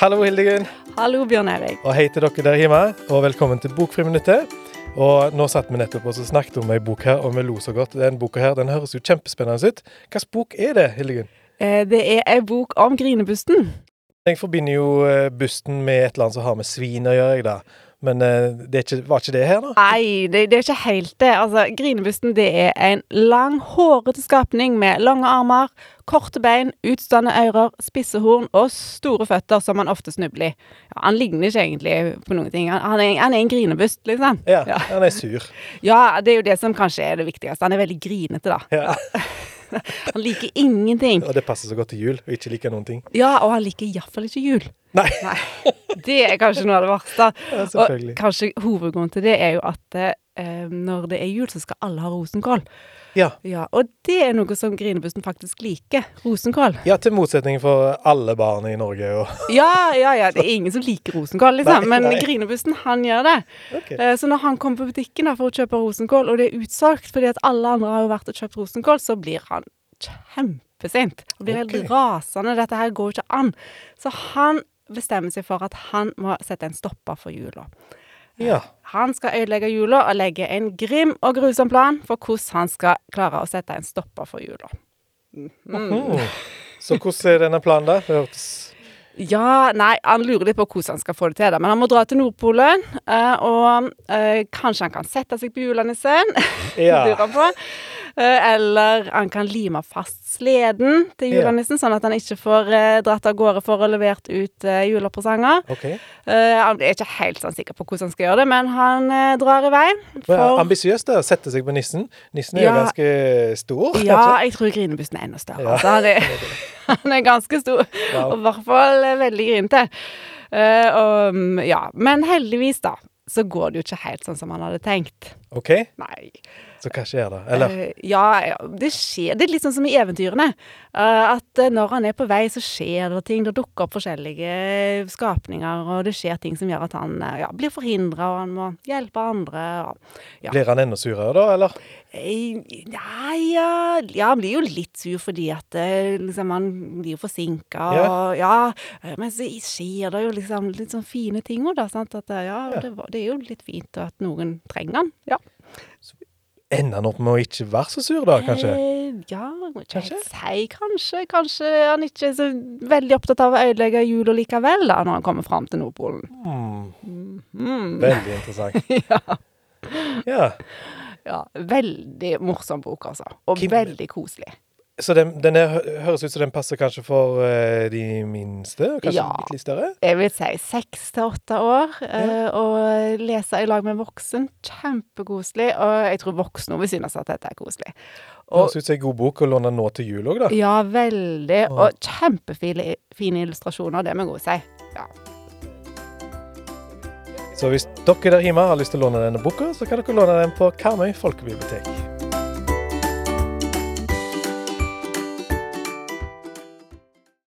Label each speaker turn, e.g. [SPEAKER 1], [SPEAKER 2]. [SPEAKER 1] Hallo, Hildegunn.
[SPEAKER 2] Hallo, Bjørn Erik.
[SPEAKER 1] Og hei til dere der hjemme, og velkommen til Bokfriminuttet. Og nå satt vi nettopp og så snakket om ei bok her, og vi lo så godt. Den boka her, den høres jo kjempespennende ut. Hvilken bok er det, Hildegunn?
[SPEAKER 2] Eh, Det er ei bok om grinebusten.
[SPEAKER 1] Jeg forbinder jo eh, busten med et eller annet som har med svin å gjøre, jeg da. Men eh, det er ikke, var ikke det her, da?
[SPEAKER 2] Nei, det, det er ikke helt det. Altså, Grinebusten det er en lang, hårete skapning med lange armer, korte bein, utstående ører, spisse horn og store føtter som han ofte snubler i. Ja, han ligner ikke egentlig på noen ting. Han, han, er, han er en grinebust, liksom.
[SPEAKER 1] Ja,
[SPEAKER 2] Ja.
[SPEAKER 1] han er sur.
[SPEAKER 2] ja, det er jo det som kanskje er det viktigste. Han er veldig grinete, da.
[SPEAKER 1] Ja.
[SPEAKER 2] Han liker ingenting.
[SPEAKER 1] Og det passer så godt til jul, og ikke liker noen ting.
[SPEAKER 2] Ja, og han liker iallfall ikke jul.
[SPEAKER 1] Nei,
[SPEAKER 2] Nei, det er kanskje noe av det verste.
[SPEAKER 1] ja,
[SPEAKER 2] Og
[SPEAKER 1] selvfølgelig.
[SPEAKER 2] kanskje hovedgrunnen til det er jo at eh, når det er jul, så skal alle ha rosenkål.
[SPEAKER 1] Ja.
[SPEAKER 2] Ja, Og det er noe som grinebussen faktisk liker. Rosenkål.
[SPEAKER 1] ja, til motsetning for alle barn i Norge og
[SPEAKER 2] Ja, ja, ja, det er ingen som liker rosenkål, liksom.
[SPEAKER 1] Nei,
[SPEAKER 2] Men
[SPEAKER 1] nei.
[SPEAKER 2] grinebussen, han gjør det.
[SPEAKER 1] Ok.
[SPEAKER 2] Eh, Så når han kommer på butikken da for å kjøpe rosenkål, og det er utsolgt fordi at alle andre har jo vært og kjøpt rosenkål, så blir han kjempesint. Han blir
[SPEAKER 1] Ok.
[SPEAKER 2] helt rasende. Dette her går jo ikke an. Så han bestemmer seg for at han må sette en stopper for jula.
[SPEAKER 1] Ja.
[SPEAKER 2] Han skal ødelegge jula og legge en grim og grusom plan for hvordan han skal klare å sette en stopper for jula.
[SPEAKER 1] Mm. Så hvordan er denne planen, da? Det hørtes
[SPEAKER 2] Ja, nei, han lurer litt på hvordan han skal få det til, da. Men han må dra til Nordpolen, eh, og eh, kanskje han kan sette seg på julenissen,
[SPEAKER 1] Ja.
[SPEAKER 2] lurer han på. Eh, eller han kan lime fast sleden til
[SPEAKER 1] Ja.
[SPEAKER 2] julenissen, sånn at han ikke får eh, dratt av gårde for å levert ut eh, julepresanger.
[SPEAKER 1] OK.
[SPEAKER 2] Eh, han er ikke helt sånn sikker på hvordan han skal gjøre det, men han eh, drar i vei.
[SPEAKER 1] Men Ambisiøst, da. Sette seg på nissen. Nissen er jo
[SPEAKER 2] Ja.
[SPEAKER 1] ganske stor.
[SPEAKER 2] Ja, jeg tror grinebussen er enda større.
[SPEAKER 1] Ja.
[SPEAKER 2] Altså, han, er, han er ganske stor,
[SPEAKER 1] Ja.
[SPEAKER 2] og i hvert fall eh, veldig grinete. Eh, og, mm, ja. Men heldigvis, da, så går det jo ikke helt sånn som han hadde tenkt.
[SPEAKER 1] OK,
[SPEAKER 2] Nei.
[SPEAKER 1] så hva skjer da? Eller
[SPEAKER 2] Eh, ja, ja, det skjer. Det er litt sånn som i eventyrene. eh, at eh, når han er på vei, så skjer det ting. Det dukker opp forskjellige skapninger, og det skjer ting som gjør at han eh, ja, blir forhindra, og han må hjelpe andre. Og ja.
[SPEAKER 1] blir han enda surere da, eller?
[SPEAKER 2] Eh, Nei, ja, ja Han blir jo litt sur fordi at eh, liksom, han blir jo forsinka.
[SPEAKER 1] Ja.
[SPEAKER 2] og Ja. eh, Men så skjer det jo liksom litt sånn fine ting òg, da. Sant? At, eh, ja,
[SPEAKER 1] Ja.
[SPEAKER 2] Det, var- det er jo litt fint at noen trenger han. Ja.
[SPEAKER 1] Ender han opp med å ikke være så sur, da, kanskje?
[SPEAKER 2] Eh, ja, jeg må ikke helt
[SPEAKER 1] Kanskje?
[SPEAKER 2] si kanskje. Kanskje han ikke er så veldig opptatt av å ødelegge jula likevel, da, når han kommer fram til Nordpolen.
[SPEAKER 1] Hmm,
[SPEAKER 2] Mm.
[SPEAKER 1] veldig interessant. Ja.
[SPEAKER 2] Ja, veldig morsom bok, altså. Og
[SPEAKER 1] Kim-
[SPEAKER 2] veldig koselig.
[SPEAKER 1] Så den, den her hø- høres ut som den passer kanskje for eh, de minste? og Kanskje
[SPEAKER 2] Ja.
[SPEAKER 1] litt litt større?
[SPEAKER 2] jeg vil si seks til åtte år, eh, og lese i lag med en voksen. Kjempekoselig. Og jeg tror voksne også vil synes at dette er koselig. Og,
[SPEAKER 1] Høres ut som en god bok å låne nå til jul òg, da.
[SPEAKER 2] ja, veldig.
[SPEAKER 1] Ja.
[SPEAKER 2] Og kjempefine fine illustrasjoner, det må jeg også si. Ja.
[SPEAKER 1] Så hvis dere der hjemme har lyst til å låne denne boka, så kan dere låne den på Karmøy folkebibliotek.